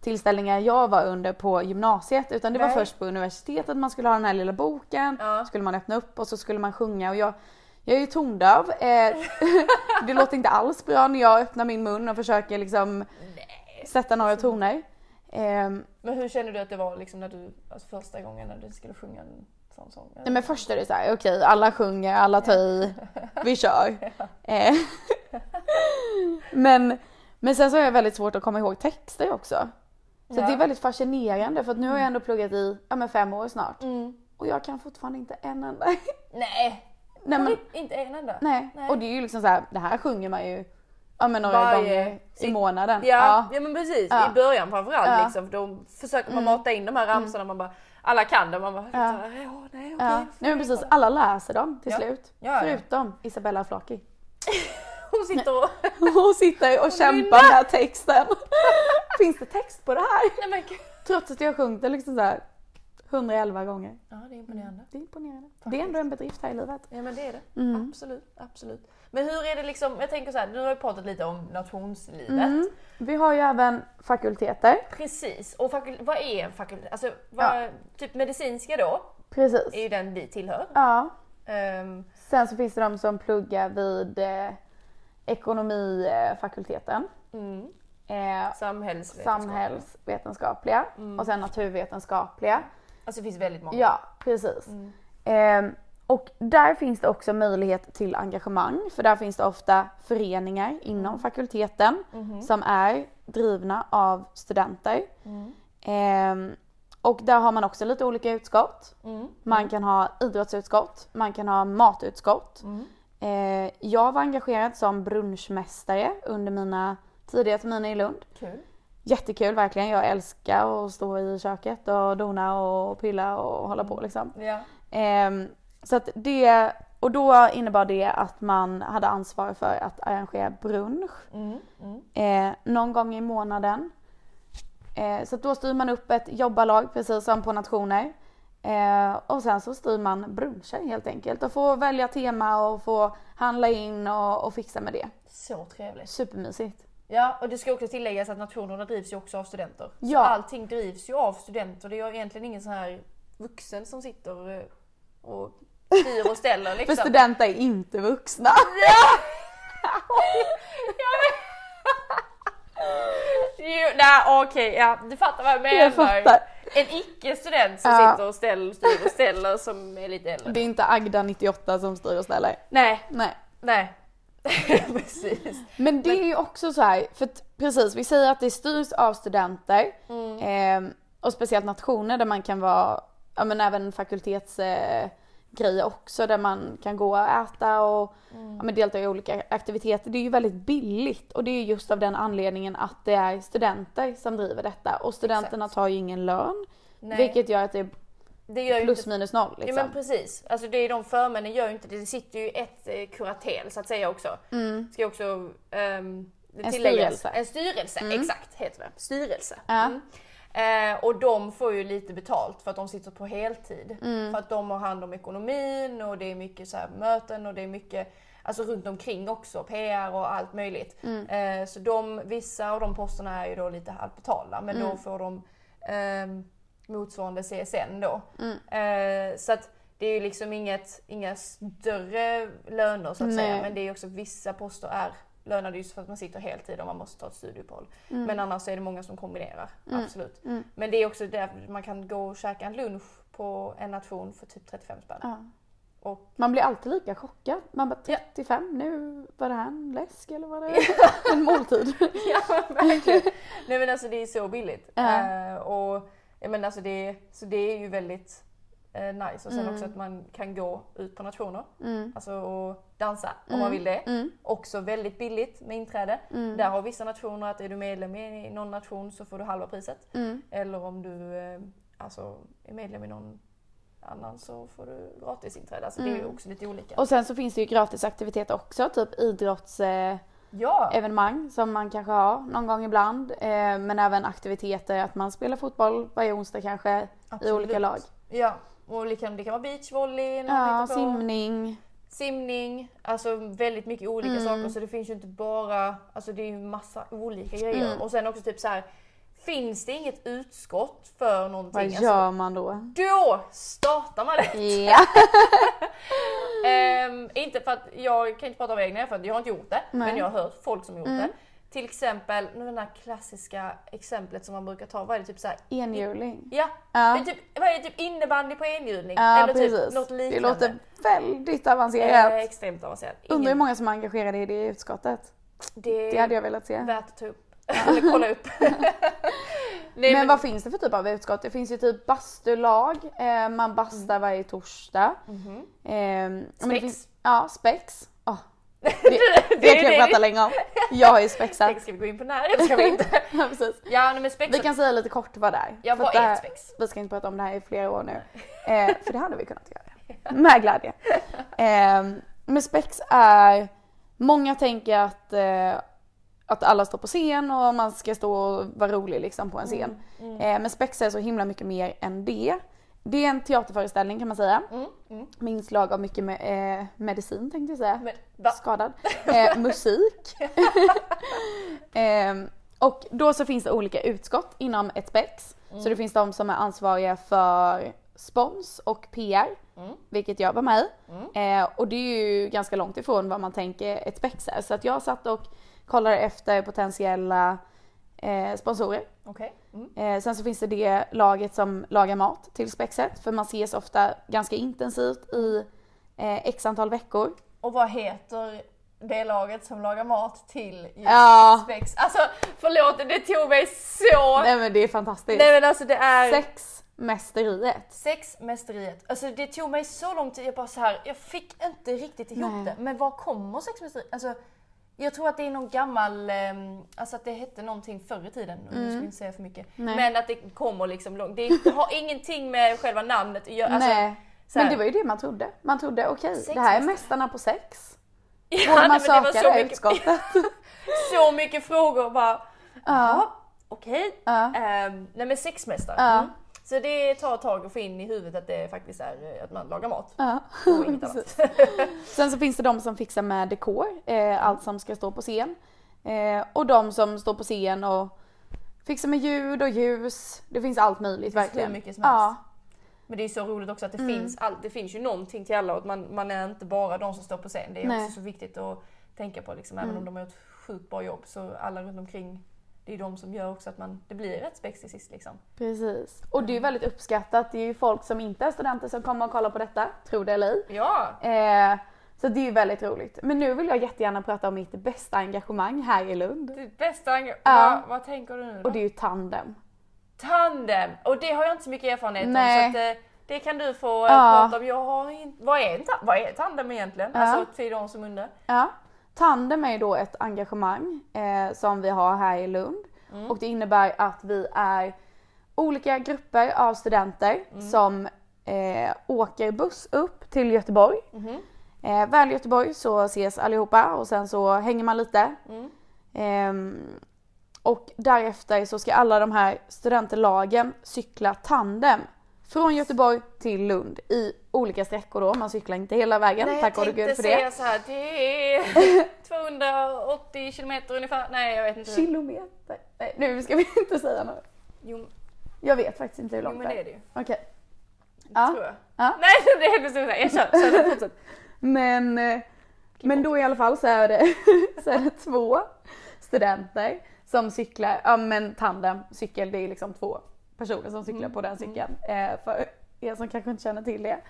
[SPEAKER 3] tillställningar jag var under på gymnasiet utan det var
[SPEAKER 2] Nej.
[SPEAKER 3] först på universitetet man skulle ha den här lilla boken,
[SPEAKER 2] Ja.
[SPEAKER 3] skulle man öppna upp och så skulle man sjunga och jag jag är ju tondöv, eh, (laughs) det låter inte alls bra när jag öppnar min mun och försöker liksom sätta några
[SPEAKER 2] Alltså-
[SPEAKER 3] toner. Ehm,
[SPEAKER 2] Men hur känner du att det var liksom när du, alltså första gången när du skulle sjunga en sån sång?
[SPEAKER 3] Nej men först är det så här, okej alla sjunger, alla tar i, vi kör.
[SPEAKER 2] (laughs)
[SPEAKER 3] Eh, men, men sen så har jag väldigt svårt att komma ihåg texter också. Så
[SPEAKER 2] Ja.
[SPEAKER 3] alltså, det är väldigt fascinerande för att nu har jag ändå pluggat i ja, men fem år snart och jag kan fortfarande inte en enda.
[SPEAKER 2] Mm.
[SPEAKER 3] (laughs)
[SPEAKER 2] Nej!
[SPEAKER 3] nej, men,
[SPEAKER 2] Inte en enda?
[SPEAKER 3] nej.
[SPEAKER 2] Nej.
[SPEAKER 3] Och det är ju liksom så här, det här sjunger man ju ja, men några
[SPEAKER 2] Varje-
[SPEAKER 3] gånger i månaden.
[SPEAKER 2] Ja, ja. men precis.
[SPEAKER 3] Ja.
[SPEAKER 2] I början framförallt
[SPEAKER 3] Ja. Mm.
[SPEAKER 2] liksom. Då försöker man mata in de här ramsorna. Man bara, alla kan dem. Man bara, ja. nej okej.
[SPEAKER 3] Ja. Nej men precis, alla läser dem till
[SPEAKER 2] Ja.
[SPEAKER 3] slut.
[SPEAKER 2] Ja, ja.
[SPEAKER 3] Förutom Isabella Flaki.
[SPEAKER 2] Hon sitter och...
[SPEAKER 3] (laughs) Hon sitter och kämpar med
[SPEAKER 2] (laughs)
[SPEAKER 3] texten. Finns det text på det här?
[SPEAKER 2] nej men gud.
[SPEAKER 3] Trots att jag har sjungit det liksom så här 111 gånger.
[SPEAKER 2] Ja det är imponerande.
[SPEAKER 3] Det är imponerande. Det är ändå en bedrift här i livet.
[SPEAKER 2] Ja men det är det.
[SPEAKER 3] Mm.
[SPEAKER 2] Absolut, absolut. Men hur är det liksom, jag tänker så här, du har ju pratat lite om nationslivet.
[SPEAKER 3] Mm. Vi har ju även fakulteter.
[SPEAKER 2] Precis, och fakul- vad är en fakultet? Alltså, vad, typ medicinska då, är
[SPEAKER 3] Precis.
[SPEAKER 2] ju den vi tillhör.
[SPEAKER 3] Ja.
[SPEAKER 2] Ehm,
[SPEAKER 3] Sen så finns det de som pluggar vid eh, ekonomifakulteten.
[SPEAKER 2] Mm.
[SPEAKER 3] Eh,
[SPEAKER 2] Samhällsvetenskap.
[SPEAKER 3] samhällsvetenskapliga och sen naturvetenskapliga.
[SPEAKER 2] Alltså det finns väldigt många.
[SPEAKER 3] Ja, precis. Ehm, och där finns det också möjlighet till engagemang för där finns det ofta föreningar inom fakulteten som är drivna av studenter. Ehm, och där har man också lite olika utskott. Man kan ha idrottsutskott, man kan ha matutskott. Ehm, jag var engagerad som brunchmästare under mina tidiga terminer i Lund.
[SPEAKER 2] Kul.
[SPEAKER 3] Jättekul verkligen. Jag älskar att stå i köket och dona och pilla och hålla på liksom.
[SPEAKER 2] Ja.
[SPEAKER 3] Ehm, så att det, och då innebar det att man hade ansvar för att arrangera brunch eh, någon gång i månaden. Eh, så att då styr man upp ett jobbarlag precis som på nationer. Eh, och sen så styr man bruncher helt enkelt och får välja tema och få handla in och, och fixa med det.
[SPEAKER 2] Så trevligt.
[SPEAKER 3] Supermysigt.
[SPEAKER 2] Ja, och det ska också tilläggas att nationerna drivs ju också av studenter. Så
[SPEAKER 3] Ja.
[SPEAKER 2] Allting drivs ju av studenter. Det är ju egentligen ingen sån här vuxen som sitter eh, och styr och
[SPEAKER 3] (laughs)
[SPEAKER 2] ställer
[SPEAKER 3] För
[SPEAKER 2] liksom.
[SPEAKER 3] studenter är inte vuxna. (laughs)
[SPEAKER 2] (laughs) Jo, Nej okej, ja, du fattar vad jag menar.
[SPEAKER 3] Jag fattar.
[SPEAKER 2] en icke-student som
[SPEAKER 3] Ja.
[SPEAKER 2] sitter och ställer, styr och ställer som är lite äldre.
[SPEAKER 3] Det är inte Agda 98 som styr och ställer.
[SPEAKER 2] Nej,
[SPEAKER 3] Nej. (laughs)
[SPEAKER 2] nej. Precis.
[SPEAKER 3] Men det är ju också så här, för att, precis vi säger att det styrs av studenter
[SPEAKER 2] Mm.
[SPEAKER 3] eh, och speciellt nationer där man kan vara, ja men även fakultetsgrejer eh, grejer också där man kan gå och äta och
[SPEAKER 2] Mm.
[SPEAKER 3] ja, men delta i olika aktiviteter. Det är ju väldigt billigt och det är ju just av den anledningen att det är studenter som driver detta och studenterna
[SPEAKER 2] Exakt.
[SPEAKER 3] tar ju ingen lön
[SPEAKER 2] Nej.
[SPEAKER 3] vilket gör att det är
[SPEAKER 2] Det gör ju
[SPEAKER 3] plus
[SPEAKER 2] inte...
[SPEAKER 3] minus noll liksom.
[SPEAKER 2] Ja men precis. Alltså det är de förmännen gör ju inte det. Det sitter ju ett eh, kuratel så att säga också. Ska ju också ehm, det
[SPEAKER 3] Mm. En
[SPEAKER 2] tilläggas.
[SPEAKER 3] styrelse. Mm.
[SPEAKER 2] En styrelse, exakt heter det. Styrelse.
[SPEAKER 3] Ja.
[SPEAKER 2] Mm. Eh, och de får ju lite betalt för att de sitter på heltid.
[SPEAKER 3] Mm.
[SPEAKER 2] För att de har hand om ekonomin och det är mycket så här möten och det är mycket alltså runt omkring också, PR och allt möjligt.
[SPEAKER 3] Mm.
[SPEAKER 2] Eh, så de, vissa av de posterna är ju då lite halvbetalda men
[SPEAKER 3] Mm.
[SPEAKER 2] då får de ehm, motsvarande CSN då. Eh, så att det är ju liksom inget, inga större löner så att
[SPEAKER 3] Nej.
[SPEAKER 2] säga men det är ju också vissa poster är lönade just för att man sitter heltid och man måste ta ett studieuppehåll.
[SPEAKER 3] Mm.
[SPEAKER 2] Men annars är det många som kombinerar, absolut. Men det är också där man kan gå och käka en lunch på en nation för typ 35 spänn.
[SPEAKER 3] Ja.
[SPEAKER 2] Och
[SPEAKER 3] Man blir alltid lika chockad. Man bara
[SPEAKER 2] Ja.
[SPEAKER 3] 35, nu var det här en läsk eller var det (laughs) en måltid?
[SPEAKER 2] (laughs) Ja men verkligen. Nej men alltså det är så billigt.
[SPEAKER 3] Ja.
[SPEAKER 2] Eh, och, ja, men alltså det, så det är ju väldigt eh, nice. Och sen
[SPEAKER 3] Mm.
[SPEAKER 2] också att man kan gå ut på nationer. Alltså och dansa om
[SPEAKER 3] Mm.
[SPEAKER 2] man vill det. Också väldigt billigt med inträde. Där har vissa nationer att är du medlem i någon nation så får du halva priset.
[SPEAKER 3] Mm.
[SPEAKER 2] Eller om du eh, alltså, är medlem i någon annan så får du gratis inträde. Alltså det är ju
[SPEAKER 3] Mm.
[SPEAKER 2] också lite olika.
[SPEAKER 3] Och sen så finns det ju gratisaktiviteter också, typ idrottsevenemang
[SPEAKER 2] ja!
[SPEAKER 3] som man kanske har någon gång ibland. Eh, Men även aktiviteter, att man spelar fotboll varje onsdag kanske i
[SPEAKER 2] Absolut.
[SPEAKER 3] olika lag.
[SPEAKER 2] ja. Och det kan, det kan vara beachvolley. när man
[SPEAKER 3] Ja,
[SPEAKER 2] hittar på.
[SPEAKER 3] simning.
[SPEAKER 2] simning, alltså väldigt mycket olika
[SPEAKER 3] Mm.
[SPEAKER 2] saker så det finns ju inte bara, alltså det är ju massa olika grejer.
[SPEAKER 3] Mm.
[SPEAKER 2] Och sen också typ så här finns det inget utskott för någonting,
[SPEAKER 3] Vad
[SPEAKER 2] alltså,
[SPEAKER 3] gör man då?
[SPEAKER 2] då startar man det!
[SPEAKER 3] Ja,
[SPEAKER 2] Ehm, inte för att, jag kan inte prata av egna erfarenheter, jag har inte gjort det, men jag har hört folk som gjort
[SPEAKER 3] Mm.
[SPEAKER 2] det. Till exempel, nu det här klassiska exemplet som man brukar ta, vad är det typ så här,
[SPEAKER 3] enhjuling.
[SPEAKER 2] ja,
[SPEAKER 3] Ja.
[SPEAKER 2] Det är typ, vad är det, typ innebandy på enhjulning?
[SPEAKER 3] Ja,
[SPEAKER 2] Eller typ
[SPEAKER 3] precis.
[SPEAKER 2] något liknande.
[SPEAKER 3] det låter väldigt
[SPEAKER 2] Eh,
[SPEAKER 3] avancerat.
[SPEAKER 2] extremt avancerat.
[SPEAKER 3] Undrar hur
[SPEAKER 2] Ingen-
[SPEAKER 3] många som är engagerade i det i utskottet.
[SPEAKER 2] det,
[SPEAKER 3] Det hade jag velat se.
[SPEAKER 2] värt att ta upp. (laughs) Eller
[SPEAKER 3] (laughs)
[SPEAKER 2] kolla upp. Nej,
[SPEAKER 3] Men vad finns det för typ av utskott? Det finns ju typ bastulag, eh, man bastar varje torsdag. Eh, men det
[SPEAKER 2] Mm. Mhm. Spex.
[SPEAKER 3] finns- ja, spex. Åh, det, det
[SPEAKER 2] är
[SPEAKER 3] kan
[SPEAKER 2] (laughs) det.
[SPEAKER 3] jag prata länge om. Jag är ju spexad.
[SPEAKER 2] (laughs) Tänk, ska vi gå in på när eller ska
[SPEAKER 3] (laughs)
[SPEAKER 2] vi inte?
[SPEAKER 3] Ja, precis.
[SPEAKER 2] Ja, nej, men
[SPEAKER 3] Vi
[SPEAKER 2] spex...
[SPEAKER 3] kan säga lite kort vad det är.
[SPEAKER 2] Ja,
[SPEAKER 3] För att
[SPEAKER 2] vad
[SPEAKER 3] det
[SPEAKER 2] är
[SPEAKER 3] här-
[SPEAKER 2] ett spex?
[SPEAKER 3] Vi ska inte prata om det här i flera år nu. Eh, för det hade vi kunnat göra. Med glädje. Eh, men spex är, många tänker att, eh, att alla står på scen och man ska stå och vara rolig liksom på en scen.
[SPEAKER 2] Mm,
[SPEAKER 3] Eh, men spex är så himla mycket mer än det. Det är en teaterföreställning kan man säga.
[SPEAKER 2] Mm, mm.
[SPEAKER 3] Med inslag av mycket me- eh, medicin tänkte jag säga
[SPEAKER 2] Men, va?
[SPEAKER 3] skadad. Eh, musik. eh, och då så finns det olika utskott inom ett spex. Så det finns de som är ansvariga för spons och PR, vilket jag var med i. Eh, och det är ju ganska långt ifrån vad man tänker ett spex är. Så att jag satt och kollade efter potentiella eh, sponsorer.
[SPEAKER 2] Okej. Mm.
[SPEAKER 3] Eh, sen så finns det det laget som lagar mat till spexet, för man ses ofta ganska intensivt i eh, x antal veckor.
[SPEAKER 2] Och vad heter det laget som lagar mat till just
[SPEAKER 3] Ja.
[SPEAKER 2] spex? Alltså förlåt, det tog mig så... Nej,
[SPEAKER 3] Nej men det är fantastiskt.
[SPEAKER 2] men alltså det är...
[SPEAKER 3] Sexmästeriet.
[SPEAKER 2] Sexmästeriet, alltså det tog mig så lång tid, jag bara så här, jag fick inte riktigt ihop
[SPEAKER 3] Nej.
[SPEAKER 2] det. Men var kommer sexmästeriet? Alltså, jag tror att det är någon gammal, ehm, alltså att det hette någonting förr i tiden, nu
[SPEAKER 3] Mm.
[SPEAKER 2] ska jag inte säga för mycket. Men att det kommer liksom långt, det, är- det har ingenting med själva namnet att göra. Alltså,
[SPEAKER 3] Nej.
[SPEAKER 2] så här-
[SPEAKER 3] Men det var ju det man trodde. Man trodde okej, det här är
[SPEAKER 2] Sexmästare.
[SPEAKER 3] mästarna på sex.
[SPEAKER 2] (laughs) (laughs) Ja,
[SPEAKER 3] Borde man
[SPEAKER 2] nej, men det var
[SPEAKER 3] söka
[SPEAKER 2] så
[SPEAKER 3] det här
[SPEAKER 2] mycket-
[SPEAKER 3] utskottet?
[SPEAKER 2] (laughs) så mycket frågor och bara, ja, okej.
[SPEAKER 3] Ja.
[SPEAKER 2] Ehm, nej men sexmästare.
[SPEAKER 3] Ja.
[SPEAKER 2] Mm. Så det tar ett tag att få in i huvudet att det faktiskt är eh, att man
[SPEAKER 3] (laughs)
[SPEAKER 2] lagar mat
[SPEAKER 3] Ja.
[SPEAKER 2] och inget annat.
[SPEAKER 3] Sen så finns det de som fixar med dekor, eh, allt som ska stå på scen. Eh, och de som står på scen och fixar med ljud och ljus. Det finns allt möjligt
[SPEAKER 2] finns hur
[SPEAKER 3] verkligen.
[SPEAKER 2] mycket som
[SPEAKER 3] ja.
[SPEAKER 2] helst. Men det är så roligt också att det,
[SPEAKER 3] Mm.
[SPEAKER 2] finns, all, det finns ju någonting till alla och att man, man är inte bara de som står på scen. Det är
[SPEAKER 3] Nej. Mm.
[SPEAKER 2] också så viktigt att tänka på liksom, även om de har ett sjukt bra jobb så alla runt omkring det är de som gör också att man, det blir rätt spex till sist liksom.
[SPEAKER 3] Precis. Och det är ju
[SPEAKER 2] Mm.
[SPEAKER 3] väldigt uppskattat. Det är ju folk som inte är studenter som kommer och kollar på detta, tro det eller ej.
[SPEAKER 2] Ja!
[SPEAKER 3] Eh, så det är ju väldigt roligt. Men nu vill jag jättegärna prata om mitt bästa engagemang här i Lund.
[SPEAKER 2] Ditt bästa enga-
[SPEAKER 3] Ja.
[SPEAKER 2] vad, vad tänker du nu då?
[SPEAKER 3] Och det är ju Tandem.
[SPEAKER 2] Tandem! Och det har jag inte så mycket erfarenhet
[SPEAKER 3] Nej.
[SPEAKER 2] om så att, eh, det kan du få eh,
[SPEAKER 3] Ja.
[SPEAKER 2] prata om. Jag har inte, vad, är en ta- vad är tandem egentligen?
[SPEAKER 3] Ja.
[SPEAKER 2] Alltså till de som undrar.
[SPEAKER 3] Ja. Tandem är ju då ett engagemang eh, som vi har här i Lund. Och det innebär att vi är olika grupper av studenter som eh, åker buss upp till Göteborg. Eh, väl i Göteborg så ses allihopa och sen så hänger man lite.
[SPEAKER 2] Mm.
[SPEAKER 3] Ehm, och därefter så ska alla de här studentlagen cykla tandem från Göteborg till Lund i olika sträckor då. Man cyklar inte hela vägen, tack och
[SPEAKER 2] jag
[SPEAKER 3] gud för
[SPEAKER 2] tänkte
[SPEAKER 3] det.
[SPEAKER 2] säga så här, det är
[SPEAKER 3] (laughs)
[SPEAKER 2] 280 kilometer ungefär. Nej jag vet inte.
[SPEAKER 3] Kilometer? Nej, nu ska vi (laughs) inte säga något.
[SPEAKER 2] Jo,
[SPEAKER 3] Jag vet faktiskt inte hur
[SPEAKER 2] jo
[SPEAKER 3] långt
[SPEAKER 2] men det är
[SPEAKER 3] är.
[SPEAKER 2] det ju.
[SPEAKER 3] Okej.
[SPEAKER 2] Ja.
[SPEAKER 3] Ja.
[SPEAKER 2] Tror jag.
[SPEAKER 3] Ja.
[SPEAKER 2] Nej det är helt bestämt såhär, jag
[SPEAKER 3] (laughs)
[SPEAKER 2] kör. kör. fortsätt.
[SPEAKER 3] Men, eh, men då i alla fall så är det, (laughs) så är det två studenter som cyklar, ja men tandem, cykel, det är liksom två personer som cyklar på den cykeln. Eh, för er som kanske inte känner till det.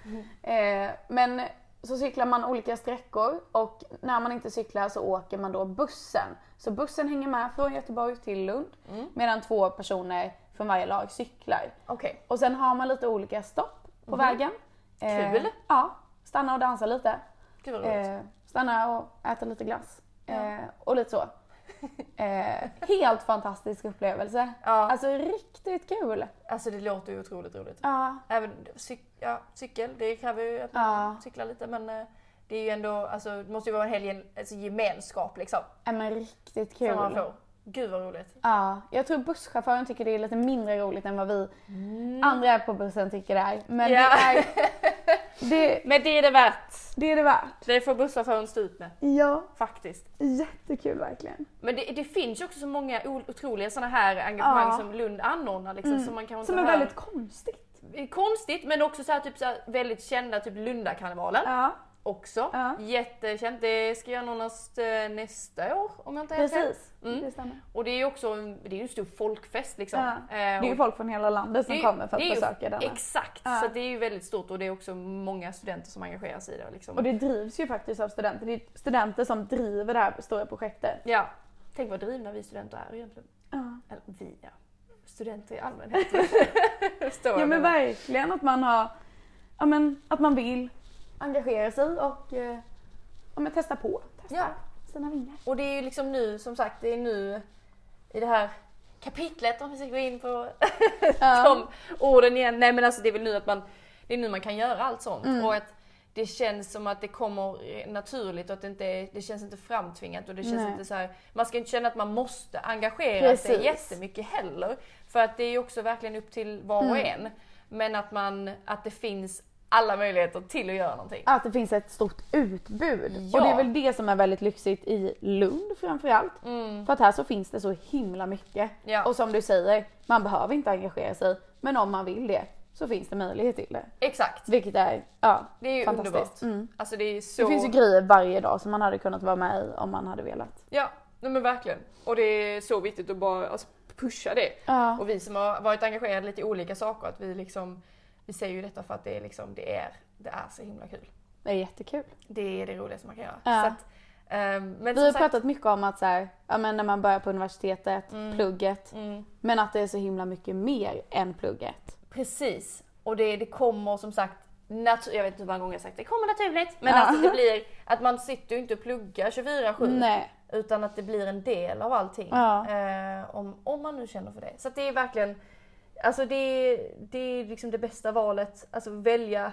[SPEAKER 3] Eh, men så cyklar man olika sträckor och när man inte cyklar så åker man då bussen. Så bussen hänger med från Göteborg till Lund
[SPEAKER 2] Mm.
[SPEAKER 3] medan två personer från varje lag cyklar.
[SPEAKER 2] Okej.
[SPEAKER 3] Och sen har man lite olika stopp på vägen. Eh,
[SPEAKER 2] Kul.
[SPEAKER 3] ja, stanna och dansa lite.
[SPEAKER 2] Gud vad roligt.
[SPEAKER 3] Eh, stanna och äta lite glass. Eh, och lite (laughs) så. Eh, helt fantastisk upplevelse.
[SPEAKER 2] Ja.
[SPEAKER 3] Alltså riktigt kul.
[SPEAKER 2] Alltså det låter ju otroligt roligt.
[SPEAKER 3] Ja,
[SPEAKER 2] Även cyk, ja, cykel, det kräver ju att man
[SPEAKER 3] ja.
[SPEAKER 2] cyklar lite men eh, det är ju ändå, alltså det måste ju vara en hel alltså, gemenskap liksom.
[SPEAKER 3] Äh, men riktigt
[SPEAKER 2] Som man
[SPEAKER 3] kul.
[SPEAKER 2] får. Gud vad roligt.
[SPEAKER 3] Ja, jag tror busschauffören tycker det är lite mindre roligt än vad vi andra på bussen tycker det är. Men
[SPEAKER 2] Ja.
[SPEAKER 3] det, är, (laughs) det,
[SPEAKER 2] Men det är det värt.
[SPEAKER 3] det är det värt.
[SPEAKER 2] Det får busschauffören stå ut med,
[SPEAKER 3] Ja,
[SPEAKER 2] faktiskt.
[SPEAKER 3] jättekul verkligen.
[SPEAKER 2] Men det, det finns ju också så många o- otroliga sådana här engagemang
[SPEAKER 3] Ja. Mm.
[SPEAKER 2] som Lund anordnar liksom, som man kanske
[SPEAKER 3] Som
[SPEAKER 2] inte
[SPEAKER 3] är
[SPEAKER 2] hör.
[SPEAKER 3] väldigt konstigt.
[SPEAKER 2] Konstigt men också så här, typ, så här, väldigt kända, typ Lundakarnevalen
[SPEAKER 3] Ja,
[SPEAKER 2] också.
[SPEAKER 3] Ja.
[SPEAKER 2] Jättekänt. Det ska jag anordnas eh, nästa år om jag inte helt fel.
[SPEAKER 3] precis.
[SPEAKER 2] Mm.
[SPEAKER 3] Det stämmer.
[SPEAKER 2] Och det är ju också en, det är ju en stor folkfest liksom.
[SPEAKER 3] Ja. Det
[SPEAKER 2] Eh,
[SPEAKER 3] är ju
[SPEAKER 2] och-
[SPEAKER 3] folk från hela landet som
[SPEAKER 2] det är ju-
[SPEAKER 3] kommer för
[SPEAKER 2] det är
[SPEAKER 3] att
[SPEAKER 2] ju-
[SPEAKER 3] besöka denna.
[SPEAKER 2] Exakt,
[SPEAKER 3] Ja.
[SPEAKER 2] så det är ju väldigt stort och det är också många studenter som engagerar sig i det. Liksom.
[SPEAKER 3] Och det drivs ju faktiskt av studenter. Det är studenter som driver det här stora projektet.
[SPEAKER 2] Ja. Tänk vad drivna vi studenter är egentligen.
[SPEAKER 3] Ja,
[SPEAKER 2] Eller vi ja. Studenter
[SPEAKER 3] (laughs)
[SPEAKER 2] i allmänhet. Förstår
[SPEAKER 3] ja
[SPEAKER 2] du?
[SPEAKER 3] men verkligen att man har, ja men att man vill engagera sig och eh, ja, men testa på. Testa
[SPEAKER 2] Ja.
[SPEAKER 3] sina vingar.
[SPEAKER 2] Och det är ju liksom nu, som sagt, det är nu i det här kapitlet om vi ska gå in på de orden igen. Nej men alltså det är väl nu att man, det är nu man kan göra allt sånt.
[SPEAKER 3] Mm.
[SPEAKER 2] Och att det känns som att det kommer naturligt och att det, inte, är- det känns inte framtvingat. Och det känns
[SPEAKER 3] Nej.
[SPEAKER 2] inte så här, man ska inte känna att man måste engagera sig
[SPEAKER 3] Precis.
[SPEAKER 2] jättemycket heller. För att det är ju också verkligen upp till var och
[SPEAKER 3] Mm.
[SPEAKER 2] en. Men att, man, att det finns alla möjligheter till att göra någonting.
[SPEAKER 3] (laughs) Att det finns ett stort utbud.
[SPEAKER 2] Ja. Mm.
[SPEAKER 3] Och det är väl det som är väldigt lyxigt i Lund framförallt. För att här så finns det så himla mycket.
[SPEAKER 2] Ja.
[SPEAKER 3] Och som du säger, man behöver inte engagera sig. Men om man vill det så finns det möjlighet till det.
[SPEAKER 2] Exakt.
[SPEAKER 3] Vilket är, ja,
[SPEAKER 2] Det är ju
[SPEAKER 3] fantastiskt.
[SPEAKER 2] underbart.
[SPEAKER 3] Mm.
[SPEAKER 2] Alltså det är så...
[SPEAKER 3] Det finns ju grejer varje dag som man hade kunnat vara med i om man hade velat.
[SPEAKER 2] Ja, nej men verkligen. Och det är så viktigt att bara alltså, pusha det.
[SPEAKER 3] Ja.
[SPEAKER 2] Och vi som har varit engagerade lite i olika saker, att vi liksom, vi säger ju detta för att det är liksom, det är, det är så himla kul.
[SPEAKER 3] Det är jättekul.
[SPEAKER 2] Det är det roligaste man kan göra.
[SPEAKER 3] Ja.
[SPEAKER 2] Så att, ehm, men
[SPEAKER 3] Vi har
[SPEAKER 2] som sagt,
[SPEAKER 3] pratat mycket om att så här, ja, men när man börjar på universitetet,
[SPEAKER 2] Mm.
[SPEAKER 3] plugget. Men att det är så himla mycket mer än plugget.
[SPEAKER 2] precis. Och det, det kommer som sagt, natu- jag vet inte hur många gånger jag har sagt det, det kommer naturligt. Men
[SPEAKER 3] Ja.
[SPEAKER 2] alltså det blir, att man sitter ju inte och pluggar 24-7.
[SPEAKER 3] Nej.
[SPEAKER 2] Utan att det blir en del av allting.
[SPEAKER 3] Ja.
[SPEAKER 2] Eh, om, om man nu känner för det. Så att det är verkligen, alltså det är, det är liksom det bästa valet. Alltså välja,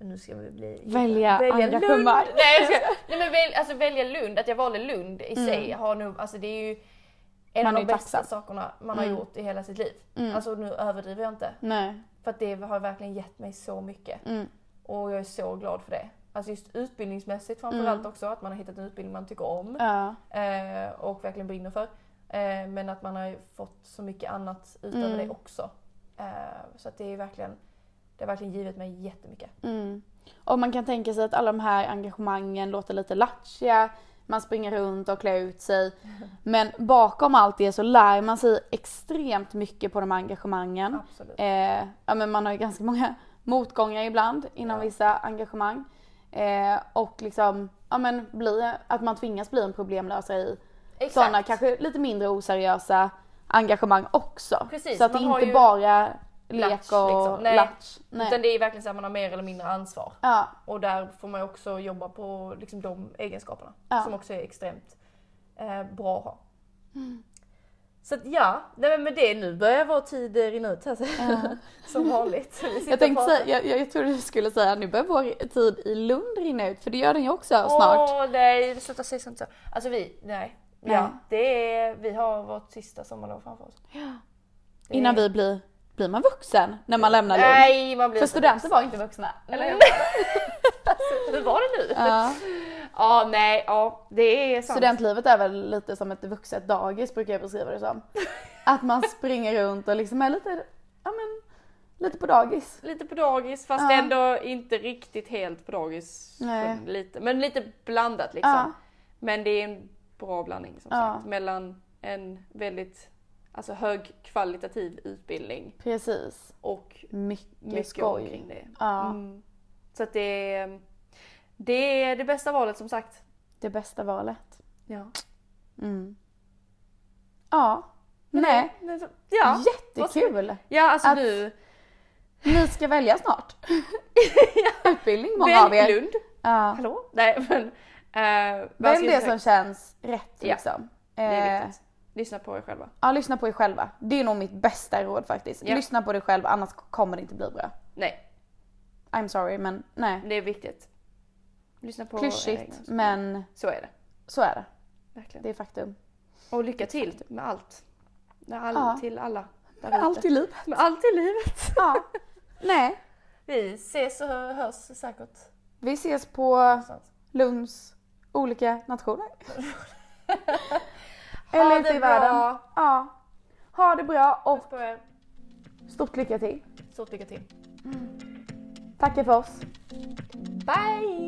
[SPEAKER 2] nu ska vi bli...
[SPEAKER 3] Välja
[SPEAKER 2] Lund!
[SPEAKER 3] engagemang.
[SPEAKER 2] (laughs) Nej, jag ska, nej men väl, alltså välja Lund, att jag valde Lund i sig har nog, alltså det är ju en
[SPEAKER 3] Mm. Man
[SPEAKER 2] av
[SPEAKER 3] är
[SPEAKER 2] de
[SPEAKER 3] ju
[SPEAKER 2] bästa
[SPEAKER 3] tacksam. Mm.
[SPEAKER 2] sakerna man har gjort i hela sitt liv. Alltså nu överdriver jag inte.
[SPEAKER 3] Nej.
[SPEAKER 2] För att det har verkligen gett mig så mycket.
[SPEAKER 3] Mm.
[SPEAKER 2] Och jag är så glad för det. Alltså just utbildningsmässigt framförallt
[SPEAKER 3] Mm.
[SPEAKER 2] också, att man har hittat en utbildning man tycker om
[SPEAKER 3] Ja.
[SPEAKER 2] eh, och verkligen brinner för. Eh, men att man har ju fått så mycket annat utöver
[SPEAKER 3] Mm.
[SPEAKER 2] det också. Eh, så att det är verkligen det har verkligen givit mig jättemycket.
[SPEAKER 3] Mm. Och man kan tänka sig att alla de här engagemangen låter lite lattjiga. man springer runt och klär ut
[SPEAKER 2] (laughs)
[SPEAKER 3] sig. Men bakom allt det så lär man sig extremt mycket på de här engagemangen.
[SPEAKER 2] Absolut.
[SPEAKER 3] Eh, ja, men man har ju ganska många (laughs) motgångar ibland inom
[SPEAKER 2] Ja.
[SPEAKER 3] vissa engagemang. Eh, och liksom, ja men bli, att man tvingas bli en problemlösare i
[SPEAKER 2] Exakt.
[SPEAKER 3] sådana kanske lite mindre oseriösa engagemang också.
[SPEAKER 2] Precis,
[SPEAKER 3] så att det
[SPEAKER 2] man har
[SPEAKER 3] inte
[SPEAKER 2] ju
[SPEAKER 3] bara lek
[SPEAKER 2] latch,
[SPEAKER 3] och
[SPEAKER 2] liksom. Nej.
[SPEAKER 3] latch. Nej.
[SPEAKER 2] Utan det är verkligen så att man har mer eller mindre ansvar.
[SPEAKER 3] Ja,
[SPEAKER 2] Och där får man ju också jobba på liksom, de egenskaperna
[SPEAKER 3] Ja.
[SPEAKER 2] som också är extremt eh, bra att ha.
[SPEAKER 3] Mm.
[SPEAKER 2] Så att, ja, nej, men med det nu börjar vår tid eh, rinna ut här så- (laughs) som vanligt. Vi sitter
[SPEAKER 3] jag, tänkte
[SPEAKER 2] bara-
[SPEAKER 3] säga, jag, jag, jag trodde du skulle säga nu börjar vår tid i Lund rinna ut för det gör den ju också snart.
[SPEAKER 2] Åh nej, sluta säga sånt. så. Alltså vi, nej.
[SPEAKER 3] Nej.
[SPEAKER 2] Ja, det är, vi har vårt sista sommarlov framför oss. Det är-
[SPEAKER 3] Innan vi blir, blir man vuxen när man lämnar Lund?
[SPEAKER 2] Nej, man blir
[SPEAKER 3] För
[SPEAKER 2] inte
[SPEAKER 3] studenter var inte vuxna. Eller? (laughs)
[SPEAKER 2] Eller? Alltså, Hur var det nu? Ja,
[SPEAKER 3] Ja.
[SPEAKER 2] nej, ja det är sant.
[SPEAKER 3] Studentlivet är väl lite som ett vuxet dagis brukar jag beskriva det
[SPEAKER 2] (laughs)
[SPEAKER 3] som. Att man springer runt och liksom är lite, ja men, lite på dagis.
[SPEAKER 2] Lite på dagis fast
[SPEAKER 3] Ja.
[SPEAKER 2] ändå inte riktigt helt på dagis.
[SPEAKER 3] Nej.
[SPEAKER 2] Lite, men lite blandat liksom.
[SPEAKER 3] Ja.
[SPEAKER 2] Men det är en bra blandning som
[SPEAKER 3] Ja.
[SPEAKER 2] sagt. Mellan en väldigt alltså, högkvalitativ utbildning
[SPEAKER 3] Precis.
[SPEAKER 2] och
[SPEAKER 3] Mycket,
[SPEAKER 2] mycket
[SPEAKER 3] skoj.
[SPEAKER 2] omkring det.
[SPEAKER 3] Ja,
[SPEAKER 2] Mm. Så att det är, det är det bästa valet som sagt.
[SPEAKER 3] det bästa valet.
[SPEAKER 2] Ja.
[SPEAKER 3] Mm. Ja. Nej.
[SPEAKER 2] Men så- Ja, vad ska-
[SPEAKER 3] Jättekul!
[SPEAKER 2] ja alltså
[SPEAKER 3] Att-
[SPEAKER 2] nu.
[SPEAKER 3] Ni ska välja
[SPEAKER 2] (laughs)
[SPEAKER 3] snart. Utbildning många av
[SPEAKER 2] Välj
[SPEAKER 3] er.
[SPEAKER 2] Lund.
[SPEAKER 3] Ja.
[SPEAKER 2] Hallå? Nej (laughs) men. eh, vad
[SPEAKER 3] Välj
[SPEAKER 2] ska jag
[SPEAKER 3] det
[SPEAKER 2] säga?
[SPEAKER 3] som känns rätt
[SPEAKER 2] Ja.
[SPEAKER 3] liksom.
[SPEAKER 2] Det är
[SPEAKER 3] Eh,
[SPEAKER 2] viktigt. Lyssna på er själva.
[SPEAKER 3] ja, lyssna på er själva. Det är nog mitt bästa råd faktiskt.
[SPEAKER 2] Ja.
[SPEAKER 3] Lyssna på dig själv annars kommer det inte bli bra.
[SPEAKER 2] Nej,
[SPEAKER 3] I'm sorry men nej.
[SPEAKER 2] Det är viktigt. Lyssna på era egna
[SPEAKER 3] Klyschigt
[SPEAKER 2] önskemål.
[SPEAKER 3] men
[SPEAKER 2] Så är det.
[SPEAKER 3] så är det.
[SPEAKER 2] Verkligen.
[SPEAKER 3] Det är faktum.
[SPEAKER 2] Och lycka till med allt. Med all,
[SPEAKER 3] Ja.
[SPEAKER 2] Till alla. Där
[SPEAKER 3] Allt
[SPEAKER 2] ute.
[SPEAKER 3] i livet.
[SPEAKER 2] Med allt i livet.
[SPEAKER 3] (laughs) Ja. Nej.
[SPEAKER 2] Vi ses och hörs säkert.
[SPEAKER 3] Vi ses på
[SPEAKER 2] någonstans.
[SPEAKER 3] Lunds olika nationer.
[SPEAKER 2] (laughs) Ha
[SPEAKER 3] Eller
[SPEAKER 2] det
[SPEAKER 3] ute i
[SPEAKER 2] bra.
[SPEAKER 3] världen. Ja. Ha det bra och
[SPEAKER 2] Puss på er.
[SPEAKER 3] stort lycka till.
[SPEAKER 2] Stort lycka till.
[SPEAKER 3] Tackar för oss.
[SPEAKER 2] Bye!